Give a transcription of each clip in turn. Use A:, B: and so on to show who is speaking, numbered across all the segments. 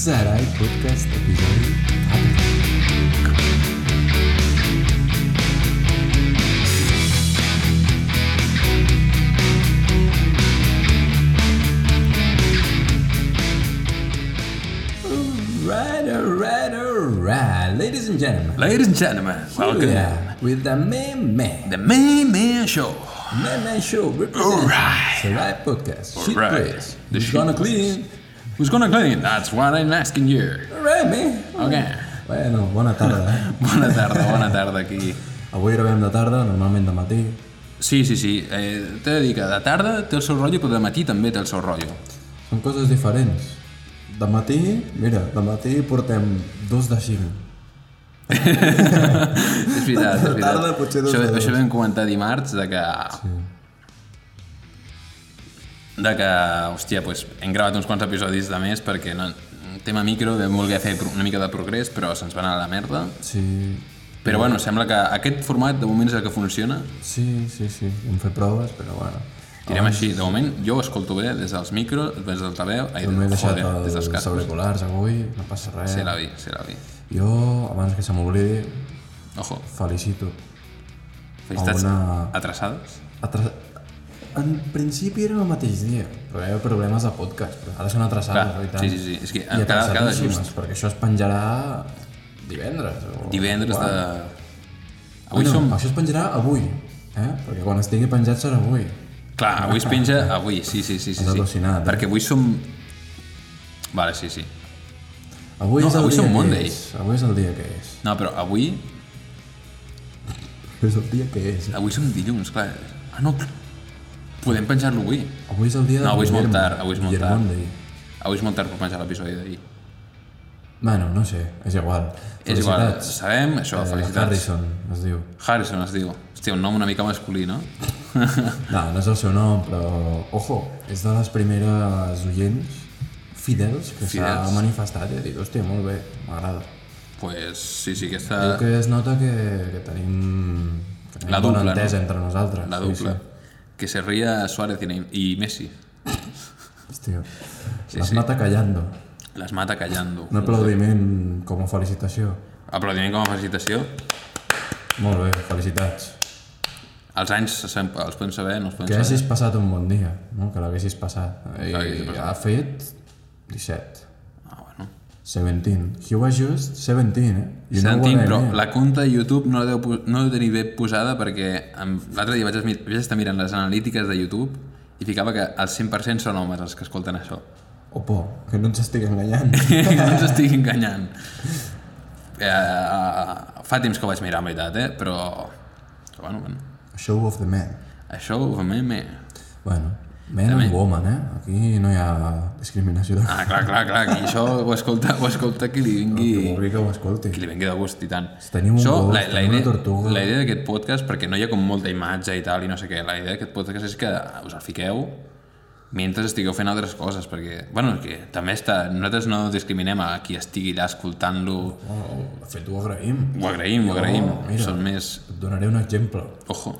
A: Sarai Podcast episodi 4. Alright, alright, alright. Ladies and gentlemen,
B: Ladies and gentlemen, welcome.
A: yeah, with the main man,
B: The main man show.
A: main man show, represents
B: Alright.
A: Sarai Podcast, sheet
B: Alright.
A: press.
B: The
A: Who's
B: sheet
A: gonna
B: press.
A: clean?
B: Who's gonna clean? That's what I'm asking you.
A: Alright, man.
B: Okay.
A: Bueno, bona tarda. eh?
B: Bona tarda, bona tarda aquí.
A: Avui gravem de tarda, normalment de matí.
B: Sí, sí, sí. Eh, T'he de dir que de tarda té el seu rotllo, però de matí també té el seu rotllo.
A: Són coses diferents. De matí, mira, de matí portem dos de cinc.
B: És veritat, és
A: De
B: veritat.
A: tarda potser dos
B: això,
A: de dos.
B: això vam comentar dimarts, de que... De que, hòstia, doncs, hem gravat uns quants episodis de més perquè no, tema micro vam voler fer pro- una mica de progrés, però se'ns va anar a la merda.
A: Sí,
B: Però bueno, sembla que aquest format de moment és el que funciona.
A: sí, sí, sí. Hem fet proves, però bueno.
B: Tirem així, de moment jo ho escolto bé des dels micros, des del altaveu, ai,
A: M'he
B: des,
A: deixat
B: joder, des dels
A: els
B: cascos.
A: auriculars avui, no passa res.
B: Ser l'avi, ser l'avi.
A: Jo, abans que se m'oblidi,
B: Ojo,
A: felicito.
B: felicitats
A: Una-
B: atrasades.
A: Atra... En principi era el mateix dia, però hi havia problemes de podcast, però ara són atrasades,
B: Clar,
A: oi tant.
B: sí, sí, sí, és que
A: I
B: cada- cada
A: atrasadíssimes, perquè això es penjarà divendres. O...
B: Divendres
A: quan?
B: de...
A: Avui
B: Avui
A: no,
B: som...
A: Això es penjarà avui, eh? Perquè quan estigui penjat serà avui.
B: Clar, avui es penja avui, sí, sí, sí, sí.
A: Has
B: sí.
A: al·lucinat, eh?
B: Perquè avui som... Vale, sí, sí.
A: Avui
B: No,
A: és el
B: avui
A: dia
B: som
A: que
B: Monday.
A: és. Avui és el dia que és.
B: No, però avui...
A: És el dia que és.
B: Avui som dilluns, clar. Ah, no, clar. podem penjar-lo avui.
A: Avui és el dia de
B: No, avui és molt
A: Guillermo,
B: tard, avui és molt
A: Guillermo
B: tard.
A: Monday.
B: Avui és molt tard per penjar l'episodi d'ahir.
A: Bueno, no sé, és igual.
B: És igual,
A: Felicitats.
B: sabem, això,
A: Eh,
B: felicitats.
A: Harrison, es diu.
B: Harrison es diu. Hòstia, un nom una mica masculí, no?
A: No, no és el seu nom, però... Ojo, és de les primeres oients fidels que s'ha
B: Fidels.
A: manifestat i ha dit, hòstia, molt bé, m'agrada.
B: pues sí, sí,
A: Diu
B: aquesta...
A: que es nota que, que tenim, que tenim
B: Ah. La
A: bona
B: dupla,
A: entesa
B: no?
A: entre nosaltres.
B: La
A: sí,
B: dupla. Que se ría Suárez y Neym- y Messi.
A: Sí, hòstia,
B: Sí,
A: les
B: sí.
A: mata callando.
B: Las mata callando.
A: Un aplaudiment com a felicitació.
B: Aplaudiment com a felicitació.
A: Molt bé, felicitats.
B: Els anys se sap- els podem saber, no els podem
A: Que
B: saber.
A: haguessis passat un bon dia, no? que l'haguessis passat. I
B: l'haguessis passat.
A: ha fet 17.
B: Ah, bueno.
A: 17. He was just 17, eh? You know
B: Sentim,
A: what I
B: però
A: mean.
B: la conta de YouTube no la deu, pu- no deu tenir bé posada perquè em- l'altre dia vaig, es- vaig estar mirant les analítiques de YouTube i ficava que el 100% són homes els que escolten això.
A: Opo, que no ens estic enganyant.
B: que no ens estigui enganyant. Eh, eh, fa temps que ho vaig mirar, en veritat, eh? Però... però bueno, bueno.
A: Show of the man.
B: Això ho fem bé.
A: Bueno, man and woman, eh? Aquí no hi ha discriminació de...
B: Ah, clar, clar, clar. Aquí això ho escolta, ho escolta qui li
A: Que
B: vingui...
A: vulgui que ho escolti.
B: Qui li vingui de gust i tant.
A: tenim un gos,
B: la, la,
A: tenim una
B: idea,
A: tortuga.
B: la idea d'aquest podcast, perquè no hi ha com molta imatge i tal, i no sé què, la idea d'aquest podcast és que us el fiqueu mentre estigueu fent altres coses, perquè, bueno, que també està, nosaltres no discriminem a qui estigui allà escoltant-lo,
A: Oh, de fet, ho agraïm.
B: ho agraïm, ho agraïm,
A: Oh, mira.
B: són més,
A: Et donaré un exemple.
B: ojo,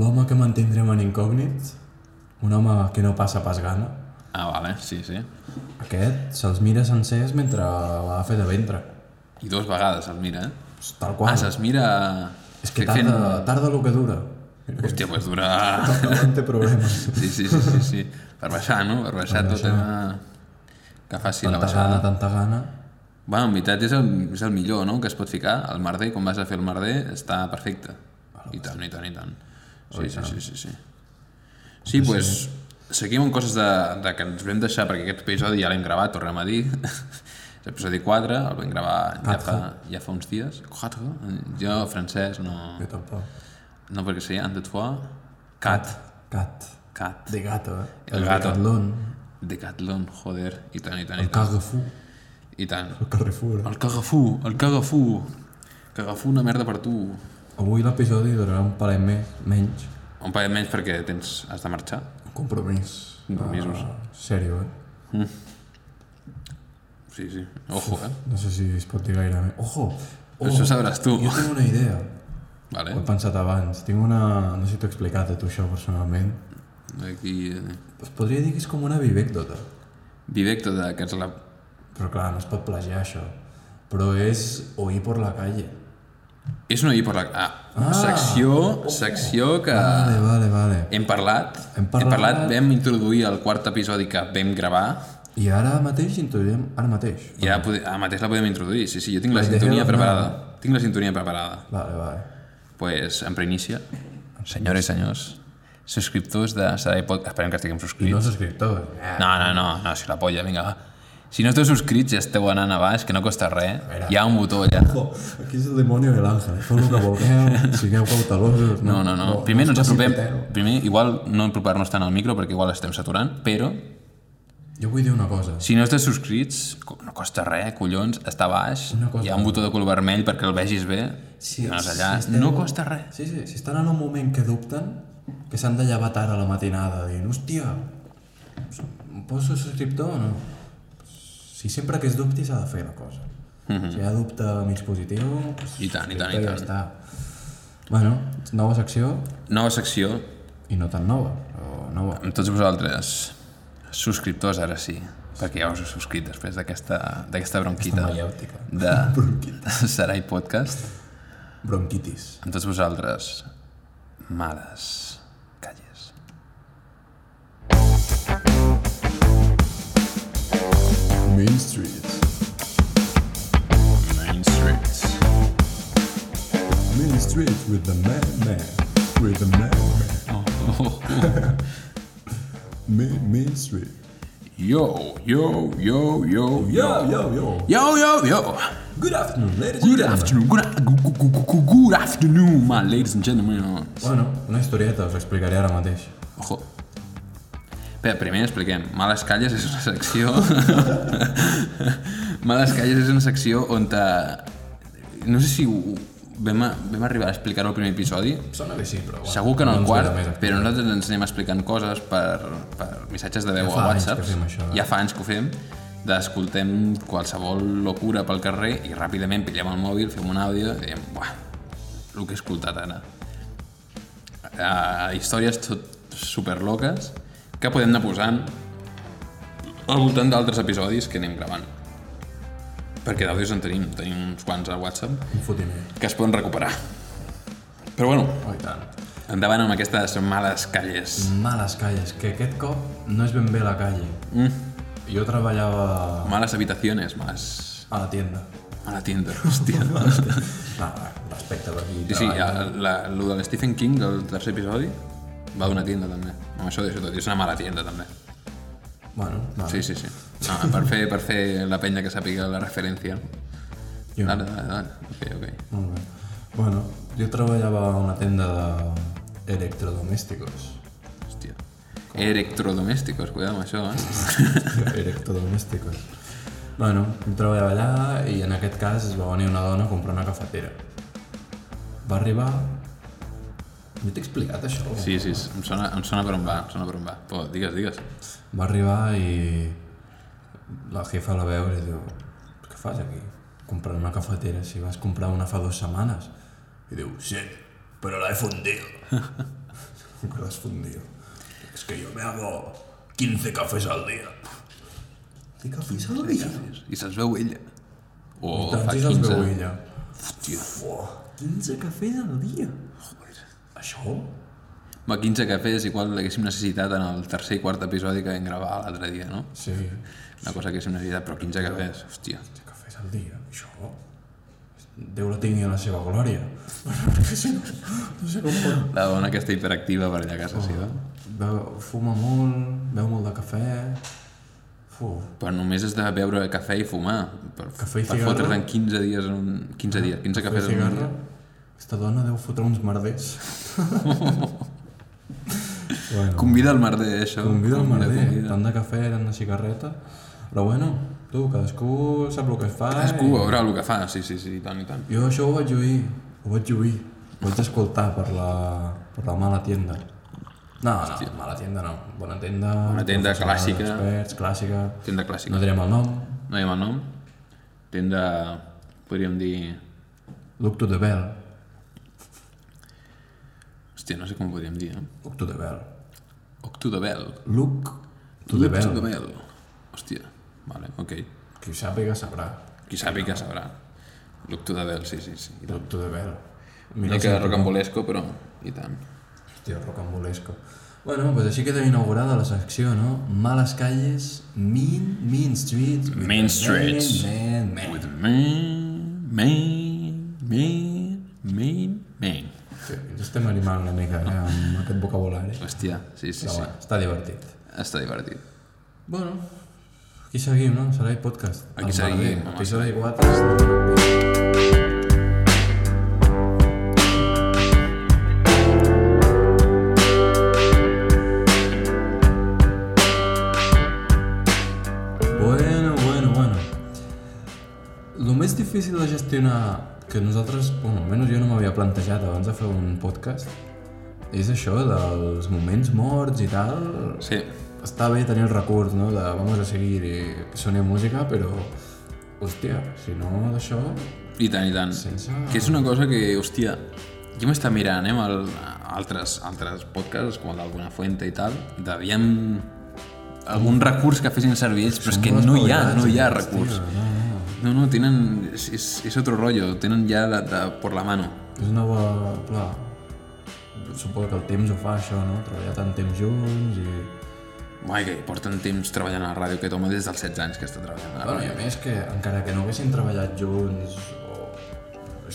A: L'home que mantindrem en incògnit, un home que no passa pas gana,
B: Ah, vale, sí, sí.
A: aquest se'ls mira sencers mentre va fer de ventre.
B: I dues vegades el mira, eh?
A: Tal
B: Ah,
A: qual.
B: se'ls mira...
A: és que
B: fe- fent-
A: tarda, tarda el que dura.
B: Hòstia, pues dura...
A: No té problemes.
B: Sí, sí, sí, sí, sí. Per baixar, no? Per baixar tot tema... Que faci la
A: Tanta
B: baixada.
A: gana, tanta gana.
B: Bueno, en veritat és el, és el millor, no?, que es pot ficar. El merder, quan vas a fer el merder, està perfecte. I tant, i tant, Ah, Oh, i tant. Sí, sí, sí, sí, sí. Sí, doncs... Pues, seguim amb coses de, de que ens vam deixar, perquè aquest episodi ja l'hem gravat, tornem a dir. És l'episodi 4, el vam gravar ja fa, ja fa uns dies. 4? Jo, francès, no...
A: Jo tampoc.
B: No perquè sé, en de toi. Cat.
A: Cat.
B: Cat.
A: De gato, eh?
B: El gato.
A: Decathlon.
B: Decathlon, joder. I tant, i tant,
A: El
B: i tant.
A: Carrefour.
B: I tant.
A: El Carrefour. eh?
B: El cagafú, el cagafú. Cagafú una merda per tu.
A: Avui l'episodi durarà un parell més, menys.
B: Un paquet menys perquè tens, has de marxar.
A: Un compromís.
B: Compromisos.
A: Ah, sèrio, eh?
B: Sí, sí. Ojo, eh?
A: No sé si es pot dir gaire més. Ojo! Oh,
B: Això sabràs tu. Eh?
A: jo tinc una idea.
B: Vale.
A: Ho he pensat abans. Tinc una... No sé si t'ho he explicat a tu això personalment.
B: Aquí... eh,
A: Es podria dir que és com una vivècdota.
B: Vivecto, de, que ens la
A: Però clar, no es pot plagiar això. Però és oir por la calle.
B: És una per la... Ah,
A: Ah!
B: secció, secció que
A: Vale, vale, vale.
B: hem parlat,
A: Hem parlat.
B: hem parlat, vam introduir el quart episodi que vam gravar
A: I ara mateix introduirem ara mateix.
B: i ara, pode... ara mateix la podem introduir, sí, sí, jo tinc la
A: Pues
B: sintonia
A: dejemos
B: preparada. Tinc la sintonia preparada.
A: Vale, vale.
B: Pues em reinicia. Senyores i senyors, subscriptors de Sarai Podcast, esperem que estiguem
A: I
B: subscrits.
A: no subscriptors. Eh,
B: No, no, no, no, si la polla, vinga, va. Si no esteu subscrits ja esteu anant a baix, que no costa res. Hi ha un botó allà.
A: Ojo, aquí és el demoni de l'àngel. Feu el que vulgueu, sigueu cautelosos.
B: No, no, no. Primer no ens
A: passi
B: apropem...
A: petero.
B: Primer, igual no apropar-nos tant al micro perquè igual estem saturant, però
A: Jo vull dir una cosa.
B: si no estàs subscrits, co- no costa res, collons, està a baix,
A: Una cosa-
B: hi ha un botó de color vermell perquè el vegis bé,
A: Sí,
B: sí, allà,
A: sí,
B: no costa res.
A: Sí, sí, si estan en un moment que dubten, que s'han de llevar tard a la matinada, dient, hòstia, em poso subscriptor o no? Si sempre que es dubti s'ha de fer la cosa. Si hi ha dubte mig positiu, doncs
B: Mhm. I tant, i tant, i
A: subscriptor Ja
B: tant.
A: està. Bueno, nova secció,
B: Nova secció,
A: i no tan nova, o nova.
B: amb tots vosaltres, subscriptors ara sí, perquè ja us heu subscrit després d'aquesta d'aquesta bronquita
A: Maiòtica.
B: de Sarai Podcast.
A: Bronquitis.
B: Amb tots vosaltres, males calles.
A: Main Street.
B: Main Streets.
A: Main Street with the madman. With the madman. Oh. Main, Main Street.
B: Yo, yo, yo, yo, yo.
A: Yo, yo, yo.
B: Yo, yo, yo.
A: Good afternoon, ladies
B: Good afternoon, good, a- good, good, good, good, good afternoon, my ladies and gentlemen.
A: Bueno, una historieta, us explicaré ara mateix.
B: Ojo. Bé, primer expliquem. Males Calles és una secció... Males Calles és una secció on te... No sé si ho... vam, a... vam arribar a explicar-ho al primer episodi,
A: Sona bé, sí, però... Bueno,
B: Segur que no, el
A: ens
B: quart,
A: queda més,
B: però nosaltres ens anem explicant coses per, per missatges de veu
A: Ja fa
B: a
A: anys
B: WhatsApp.
A: que fem això, eh?
B: Ja fa anys que ho fem, d'escoltem qualsevol locura pel carrer i ràpidament pillem el mòbil, fem un àudio i diem, buah, el que he escoltat ara. Uh, històries tot superloques que podem anar posant al voltant d'altres episodis que anem gravant. Perquè d'àudios en tenim, tenim uns quants a WhatsApp
A: Un fotimer.
B: que es poden recuperar. Però bueno,
A: Oh, i tant.
B: Endavant amb aquestes males calles.
A: Males calles, que aquest cop no és ben bé la calle. Mm. Jo treballava
B: Males habitaciones, males...
A: a la tienda.
B: Mala tienda, hòstia.
A: No, respecte per aquí.
B: Sí, sí, el, la, lo de Stephen King, el tercer episodi, va d'una tienda, també. Amb això, això tot, és una mala tienda, també.
A: Bueno, vale.
B: Sí, sí, sí. No, per, fer, per fer la penya que sàpiga la referència.
A: Jo.
B: Dale, dale, dale. Ok, ok.
A: Molt bé. Bueno, jo treballava a una tenda de electrodomésticos.
B: Hòstia. Electrodomésticos, cuidado amb això, eh?
A: electrodomésticos. Bueno, jo treballava allà i en aquest cas es va venir una dona a comprar una cafetera. Va arribar... Jo t'he explicat això?
B: Sí, sí, em sona, em sona per on va, em sona per on va. Però digues, digues.
A: Va arribar i la jefa la veu i li diu què fas aquí? Comprant una cafetera, si vas comprar una fa dues setmanes. I diu, sí, però la he fundido. Com que l'has fundido? Es que yo me hago 15 cafés al día. ¿Qué cafés al día?
B: I se'ls veu ella. O
A: Tant
B: fa
A: si Oh, se'ls
B: 15.
A: veu ella. Hòstia. Fuà, 15 cafès al dia. Joder. Això?
B: Va, 15 cafès, igual l'haguéssim necessitat en el tercer i quart episodi que vam gravar l'altre dia, no?
A: Sí.
B: Una cosa que haguéssim necessitat, però 15 cafès, hòstia.
A: 15 cafès al dia, això? Déu la tingui a la seva glòria. Perquè si no, no sé com pot. eh?
B: La dona aquesta hiperactiva per allà a casa seva.
A: Oh. Beu, fuma molt, beu molt de cafè... Fu,
B: Però només has de beure cafè i fumar. Per,
A: Cafè i
B: per
A: cigarro? Ah,
B: fotre't en 15 dies, en un... 15 dies, 15
A: fer
B: cafès en un
A: cigarra...
B: dia.
A: Aquesta dona deu fotre uns merders. bueno.
B: Convida el merder, això.
A: Convida el merder,
B: convida.
A: tant de cafè, tant de cigarreta... Però bueno, tu, cadascú sap el que es fa...
B: Cadascú veurà el que fa, sí, sí, sí, i tant, i tant.
A: Jo això ho vaig oir, ho vaig oir. Ho vaig escoltar per la, per la mala tienda. No, no, mala tienda no. Bona tienda...
B: Bona tienda
A: professionals,
B: clàssica.
A: Experts, clàssica.
B: Tenda clàssica.
A: No direm el nom.
B: No hi ha mal nom. Tenda, podríem dir...
A: Look to the bell.
B: Hòstia, no sé com ho podríem dir, eh?
A: Look to the bell.
B: Octo de Bell.
A: Look to the
B: Look
A: bell.
B: to the bell. Hòstia, vale, ok.
A: Qui ho sàpiga sabrà.
B: Qui sàpiga sabrà. L'Octu de Bel, sí, sí, sí. I tant.
A: Doctor de Bell.
B: Una mica rocambolesco, però i tant.
A: Hòstia, rocambolesco. Bueno, pues així queda inaugurada la secció, no? Males calles, mean, mean streets... with
B: Mean
A: the
B: streets.
A: Man, man, man.
B: With main, main, main, main, main.
A: Sí, ens estem animant una mica eh, amb aquest vocabulari.
B: Hòstia, sí, sí,
A: Però
B: sí.
A: bueno, està divertit.
B: Està divertit.
A: Bueno, aquí seguim, no? Serà el podcast.
B: Aquí
A: El
B: seguim,
A: Verder,
B: home.
A: Episodi 4. Bueno, bueno, bueno. Lo més difícil de gestionar que nosaltres, bueno, almenys jo no m'havia plantejat abans de fer un podcast, és això dels moments morts i tal.
B: Sí,
A: Està bé tenir el recurs, no?, de vamos a seguir i que soni música, però... Hòstia, si no d'això...
B: i tant, i tant.
A: Sense-
B: Que és una cosa que, hòstia, jo m'està mirant, eh, amb el, altres, altres podcasts, com el del Buenafuente i tal, d'aviam algun recurs que fessin servir ells, però és que
A: molt
B: no hi ha, no hi ha
A: espavilats,
B: recurs.
A: hòstia, no, no.
B: No, no, tenen... És, és, és otro rollo, tenen ja de, de, por la mano.
A: És una bona... Clar, suposo que el temps ho fa, això, no? Treballar tant temps junts i...
B: Mai que porten temps treballant a la ràdio, que home des dels 16 anys que està treballant a la
A: Bueno, i
B: ràdio.
A: a més que encara que no haguessin treballat junts o...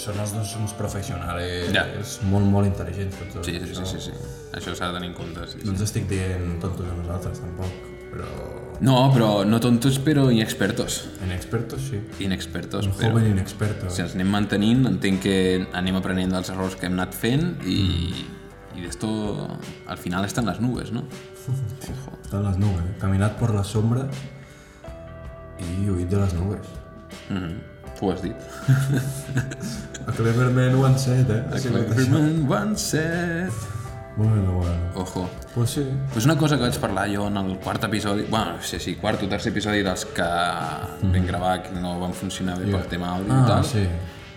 A: Són els dos uns professionals,
B: Ja.
A: és molt, molt intel·ligents tots dos.
B: Sí, sí, sí, sí, sí. Això s'ha de tenir en compte, sí.
A: No ens estic dient tontos a nosaltres, tampoc, però...
B: No, però no tontos, però inexpertos.
A: En expertos, sí.
B: Doncs Inexpertos,
A: Un
B: però...
A: joven inexperto. eh.
B: Si ens anem mantenint, entenc que anem aprenent dels errors que hem anat fent i... I d'esto, al final estan les nubes, no? Ojo.
A: Está en las nubes. Caminad por la sombra y huid de las nubes.
B: Mm, ho has dit.
A: A clever man one set, eh? Ha sigut això.
B: Cleverman one set.
A: Bueno, bueno.
B: Ojo.
A: Pues sí.
B: Pues una cosa que vaig parlar jo en el quart episodi, bueno, no sé si quart o tercer episodi dels que vam gravar que no van funcionar bé pel tema àudio
A: Mm. Ah,
B: i tal,
A: sí.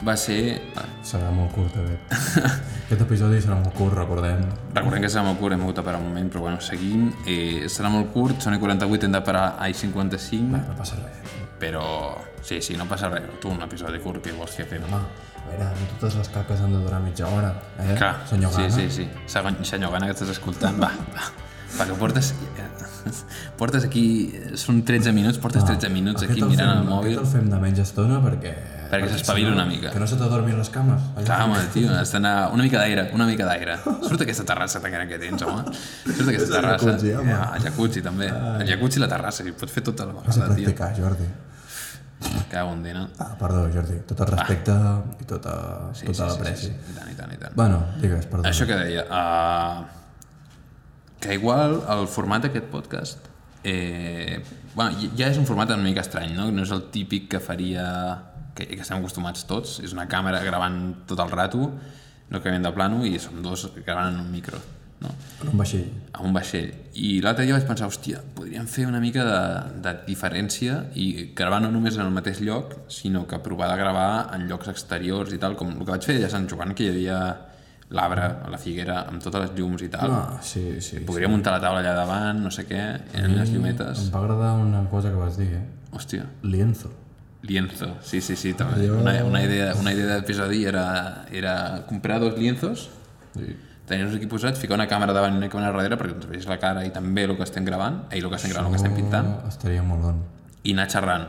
B: va ser...
A: Serà molt curt, aquest. aquest episodi serà molt curt, recordem.
B: Recordem que serà molt curt, hem hagut de parar un moment, però bueno, seguim. Eh, serà molt curt, són i 48, hem de parar a i 55,
A: No passa res.
B: però sí, sí, no passa res. Tu, un episodi curt, que vols que fem?
A: Home, a veure, no totes les caques han de durar mitja hora, eh?
B: Clar,
A: Senyor
B: sí,
A: Gana.
B: sí, sí. Segon, senyor Gana, que estàs escoltant, va, va. Va, que portes, eh, portes aquí, són 13 minuts, portes 13 minuts aquí
A: Ah, Aquest el
B: mirant
A: fem-
B: el mòbil.
A: Aquest el fem de menys estona perquè...
B: Perquè s'espavili
A: si no-
B: una mica.
A: Que no se t'adormin les cames.
B: Clar, home, tio, has d'anar una mica d'aire, una mica d'aire. Surt aquesta terrassa tan gran que tens, home. Surt aquesta terrassa.
A: jacuzzi, home.
B: Ja, el jacuzzi, també. El jacuzzi i la terrassa, hi pots fer tota la
A: Has de
B: vegada, tio.
A: practicar, Jordi.
B: Cago en dina.
A: Ah, perdó, Jordi. Tot el respecte i tota, sí, tota sí, l'apreci. Sí, sí.
B: I tant, i tant, i tant.
A: Bueno, digues, perdó.
B: Això que deia, eh, que igual el format d'aquest podcast eh, bueno, ja- ja és un format una mica estrany, no? No és el típic que faria... que, que estem acostumats tots, és una càmera gravant tot el rato, no canviem de plano i som dos gravant en un micro, no?
A: En un vaixell.
B: a un vaixell. I l'altre dia vaig pensar, hòstia, podríem fer una mica de, de diferència i gravar no només en el mateix lloc, sinó que provar de gravar en llocs exteriors i tal, com el que vaig fer allà a Sant Joan, que hi havia l'arbre, a la figuera, amb totes les llums i tal.
A: Ah, sí, sí. sí.
B: Podria muntar la taula allà davant, no sé què, en les llumetes.
A: Em va agradar una cosa que vas dir, eh?
B: Hòstia,
A: Lienzo.
B: lienzo. Sí, sí, sí, també. Una, una idea, una idea d'episodi era, era comprar dos lienzos
A: Sí.
B: tenir-nos aquí posats, ficar una càmera davant i una càmera darrere perquè ens veig la cara i també el que estem gravant, eh, i el que estem gravant, el que estem
A: Oh,
B: pintant,
A: estaria molt on.
B: i anar xerrant.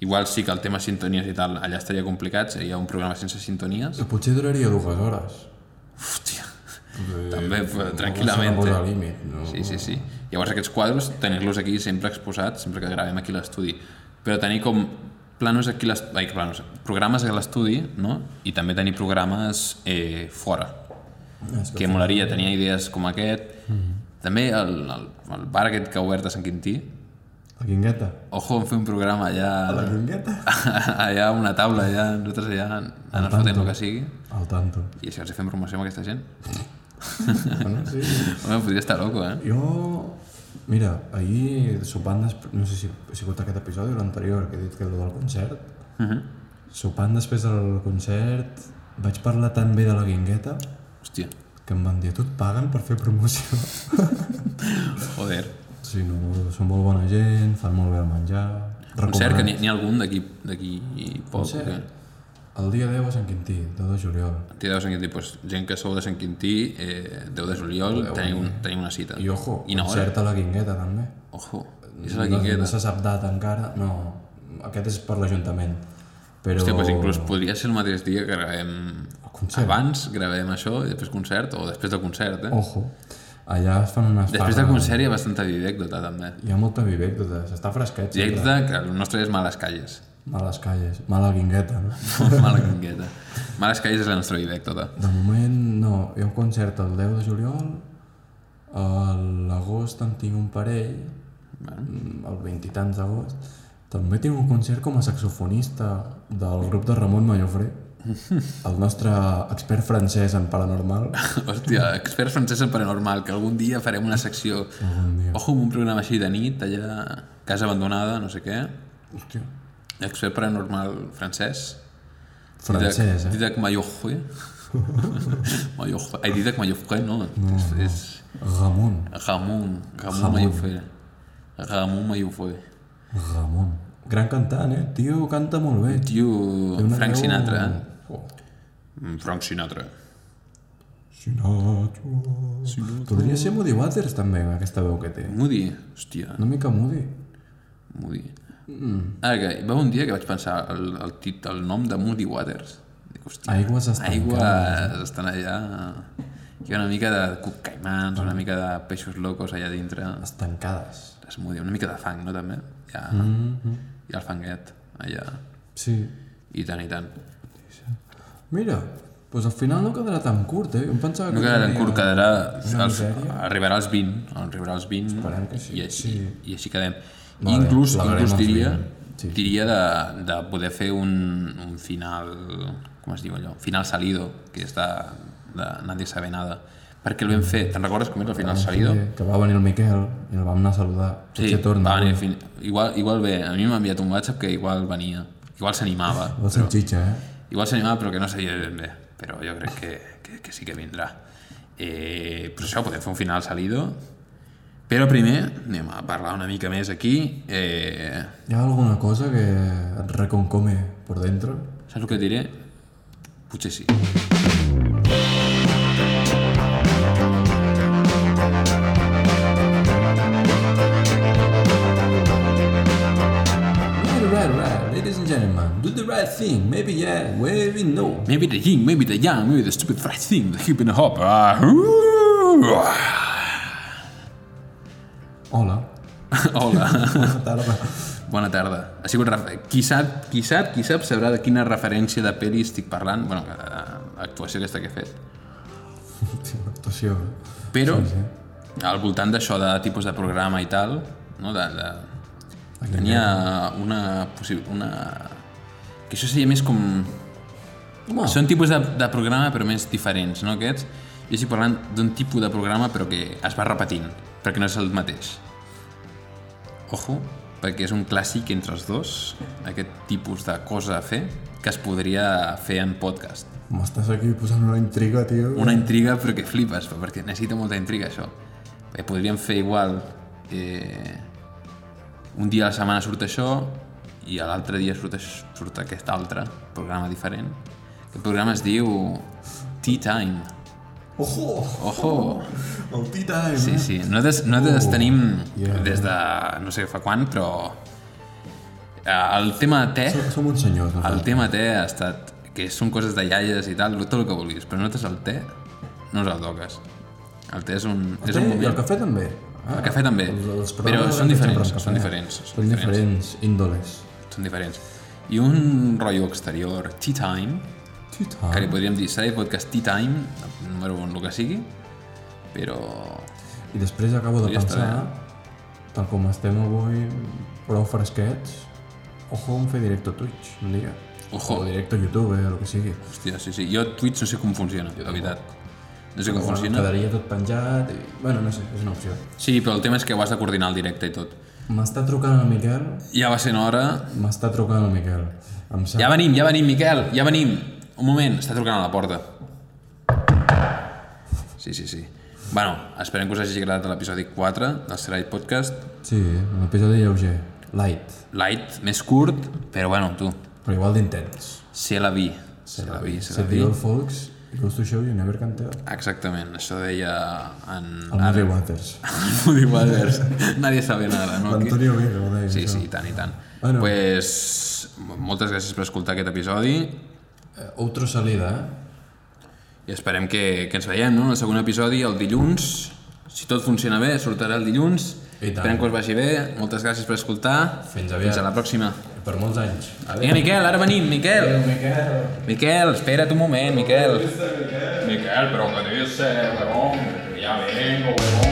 B: Igual sí que el tema sintonies i tal, allà estaria complicat, seria un programa sense sintonies.
A: I potser duraria dues hores.
B: Hòstia,
A: Eh,
B: també,
A: no
B: eh,
A: s'ha de
B: tranquil·lament.
A: posar
B: eh?
A: límit, no?
B: Sí, sí, sí. Llavors aquests quadres, tenir-los aquí sempre exposats, sempre que gravem aquí a l'estudi. Però tenir com planos aquí a l'estudi, ai, planos, programes a l'estudi, no? I també tenir programes eh, fora,
A: És que
B: que molaria, tenia idees com aquest. També el, el, el bar aquest que ha obert a Sant Quintí.
A: La guingueta.
B: Ojo, vam fer un programa
A: La
B: allà,
A: guingueta?
B: allà a una taula, allà, nosaltres allà en el fotem el que sigui.
A: Al tanto.
B: I això els fem promoció amb aquesta gent.
A: bueno, sí.
B: Home, podria estar loco, eh?
A: Jo... Mira, ahir sopant... Des... No sé si ha sigut aquest episodi o l'anterior, que he dit que el del concert.
B: Uh -huh.
A: Sopant després del concert, vaig parlar tan bé de la guingueta
B: Hòstia,
A: que em van dir, tu et paguen per fer promoció?
B: joder.
A: sí, no, són molt bona gent, fan molt bé el menjar...
B: Concert, que n'hi n'hi ha algun d'aquí d'aquí poc.
A: Concert?
B: Que...
A: El dia 10 a Sant Quintí, 2 de juliol.
B: Tia de Sant Quintí, doncs, gent que sou de Sant Quintí, eh, 10 de juliol, teniu, un, teniu una cita.
A: I ojo,
B: I una hora.
A: concert a la Guingueta també.
B: Ojo, és la
A: No- No,
B: Guingueta.
A: se sap data encara, no. Aquest és per l'Ajuntament. Però...
B: Hòstia, pues inclús podria ser el mateix dia que gravem...
A: concert.
B: Abans gravem això i després concert, o després del concert, eh?
A: Ojo, allà es fan unes
B: després del
A: farres.
B: concert hi ha bastanta didècdota, també.
A: Hi ha molta vivècdota, s'està fresquet. sempre.
B: Didècdota, que el nostre és Males Calles.
A: Males calles, mala guingueta, no?
B: Mala guingueta. Males Calles és la nostra didècdota.
A: De moment, no. Hi ha un concert el 10 de juliol, a l'agost en tinc un parell,
B: Bueno.
A: mm, el 20 i tants d'agost. També tinc un concert com a saxofonista del grup de Ramon Mallofré, el nostre expert francès en paranormal.
B: Hòstia, experts franceses en paranormal, que algun dia farem una secció...
A: Bon dia.
B: Ojo, amb un programa així de nit, allà... Casa abandonada, no sé què.
A: Hòstia.
B: Expert paranormal francès.
A: Francès, eh?
B: Didac Mayofre. Mayofre. Ai, Didac Mayofre, no. no és, és
A: Ramon.
B: Ramon. Ramon Mayofre. Ramon Mayofre.
A: Ramon. Gran cantant, eh? Tio, canta molt bé.
B: Tio,
A: Té una
B: Frank
A: veu-
B: Sinatra. eh?
A: Oh.
B: Mm, Frank Sinatra.
A: Sinatra. Podria ser Moody Waters també, amb aquesta veu que té.
B: Moody. Hòstia,
A: Una mica Moody.
B: Moody. Ara Ah, que va un dia que vaig pensar el, el, tit, el nom de Moody Waters. Dic, hòstia,
A: Aigües estancades.
B: aigües estan allà... Hi ha una mica de caimans, una mica de peixos locos allà dintre.
A: Estancades.
B: Es muda, una mica de fang, no, també? Hi ha, mm -hmm. hi ha el fanguet, allà.
A: Sí.
B: I tant, i tant.
A: Mira, doncs al final no quedarà tan curt, eh? Jo em pensava
B: No
A: que...
B: quedarà en
A: quedaria-
B: curt, quedarà...
A: Una
B: Els,
A: misèria.
B: arribarà als 20, arribarà als 20
A: Esperem que sí,
B: i, així,
A: sí.
B: i així quedem.
A: Vale,
B: inclús,
A: la veurem als
B: inclús diria,
A: 20, sí.
B: diria de, de poder fer un, un final, com es diu allò? Final salido, que és de, de Nadie sabe nada. Perquè el vam fer, te'n recordes com era el final salido?
A: Sí, que va venir el Miquel i el vam anar a saludar.
B: Sí,
A: Potser torna. eh?
B: va venir, fin... igual, igual bé, a mi m'ha enviat un WhatsApp que igual venia, igual s'animava.
A: La salxitxa, eh?
B: Igual s'animava però que no sabia ben bé, però jo crec que, que, que sí que vindrà. Eh, però això, podem fer un final salido, però primer anem a parlar una mica més aquí. Eh,
A: Hi ha alguna cosa que et reconcome per dentro?
B: saps el que et diré? Potser sí.
A: Right, right, right, ladies and gentlemen, do the right thing, maybe yeah, maybe no.
B: Maybe the yin, maybe the yang, maybe the stupid fat thing, the hip and the hop. Ah,
A: Hola.
B: Hola.
A: Bona tarda.
B: Bona tarda. Ha sigut refer... qui, sap, qui sap, qui sap sabrà de quina referència de pel·li estic parlant, bueno, de l'actuació aquesta que he fet.
A: Sí, una actuació.
B: Però, al voltant d'això de tipus de programa i tal, no, de, de... tenia una, possi- una... que això seria més com...
A: Home,
B: Són tipus de, de programa però més diferents, no aquests? Jo estic parlant d'un tipus de programa però que es va repetint, perquè no és el mateix. Ojo, perquè és un clàssic entre els dos, aquest tipus de cosa a fer, que es podria fer en podcast.
A: m'estàs aquí posant una intriga, tio.
B: Una intriga però que flipes, perquè necessita molta intriga això. Eh, podríem fer igual... Eh, un dia a la setmana surt això i a l'altre dia surt, aix- surt aquest altre programa diferent. Aquest programa es diu Tea Time.
A: Ojo!
B: Ojo!
A: El tea time,
B: Sí,
A: eh?
B: sí. Nosaltres, nosaltres tenim
A: yeah.
B: des de no sé fa quan, però eh, el tema te,
A: Som- Som uns senyors, no?
B: el tema te ha estat que són coses de iaies i tal, tot el que vulguis, però nosaltres el te no ens el toques. El te és un, és un
A: I el
B: moment.
A: cafè també. Ah,
B: El cafè també,
A: els- els
B: però
A: programes
B: són
A: que sempre
B: diferents,
A: amb cafè.
B: són diferents, són
A: Són diferents índoles.
B: Són diferents. I un rotllo exterior, tea time,
A: Tea
B: que li
A: time.
B: podríem dir, serà el podcast tea time, número un, el que sigui, però
A: I després acabo de
B: Podria estar
A: pensar, tal com estem avui, prou fresquets, ojo en fer directe a Twitch, un dia.
B: Ojo.
A: O directe a YouTube, eh, el que sigui.
B: Hòstia, sí, sí. Jo Twitch no sé com funciona, la veritat. No sé com
A: Bueno,
B: funciona.
A: Ah, Quedaria tot penjat i... Bueno, no sé, és una opció.
B: Sí, però el tema és que ho has de coordinar el directe i tot.
A: M'està trucant el Miquel,
B: Ja va sent hora.
A: m'està trucant el Miquel. Em sap...
B: Ja venim, ja venim, Miquel, ja venim. Un moment, està trucant a la porta. Sí, sí, sí. Bueno, esperem que us hagi agradat l'episodi 4 del Serai Podcast.
A: Sí, un episodi lleuger. Light.
B: Light, més curt, però bueno, tu.
A: Però igual d'intens.
B: C'est la vie. C'est la vie, c'est la
A: Set the
B: vie.
A: old folks, it goes to show you never can tell.
B: Exactament, això deia en...
A: El Muddy Waters.
B: Ah, Woody Waters. Nadie sabe nada, no? Aquí-
A: L'Antonio Vega ho deia.
B: Sí,
A: això.
B: sí, i tant, i tant.
A: Bueno.
B: pues, moltes gràcies per escoltar aquest episodi
A: Eh, Outro salida, eh?
B: i esperem que, que ens veiem, no? En el segon episodi, el dilluns. Si tot funciona bé, sortirà el dilluns.
A: I tant.
B: Esperem que us vagi bé. Moltes gràcies per escoltar.
A: Fins aviat.
B: Fins a la pròxima.
A: Per molts anys.
B: Vinga, Miquel, ara venim, Miquel. Miquel, espera't un moment, Miquel. Miquel, però que deu ser, Ja vengo, huevón.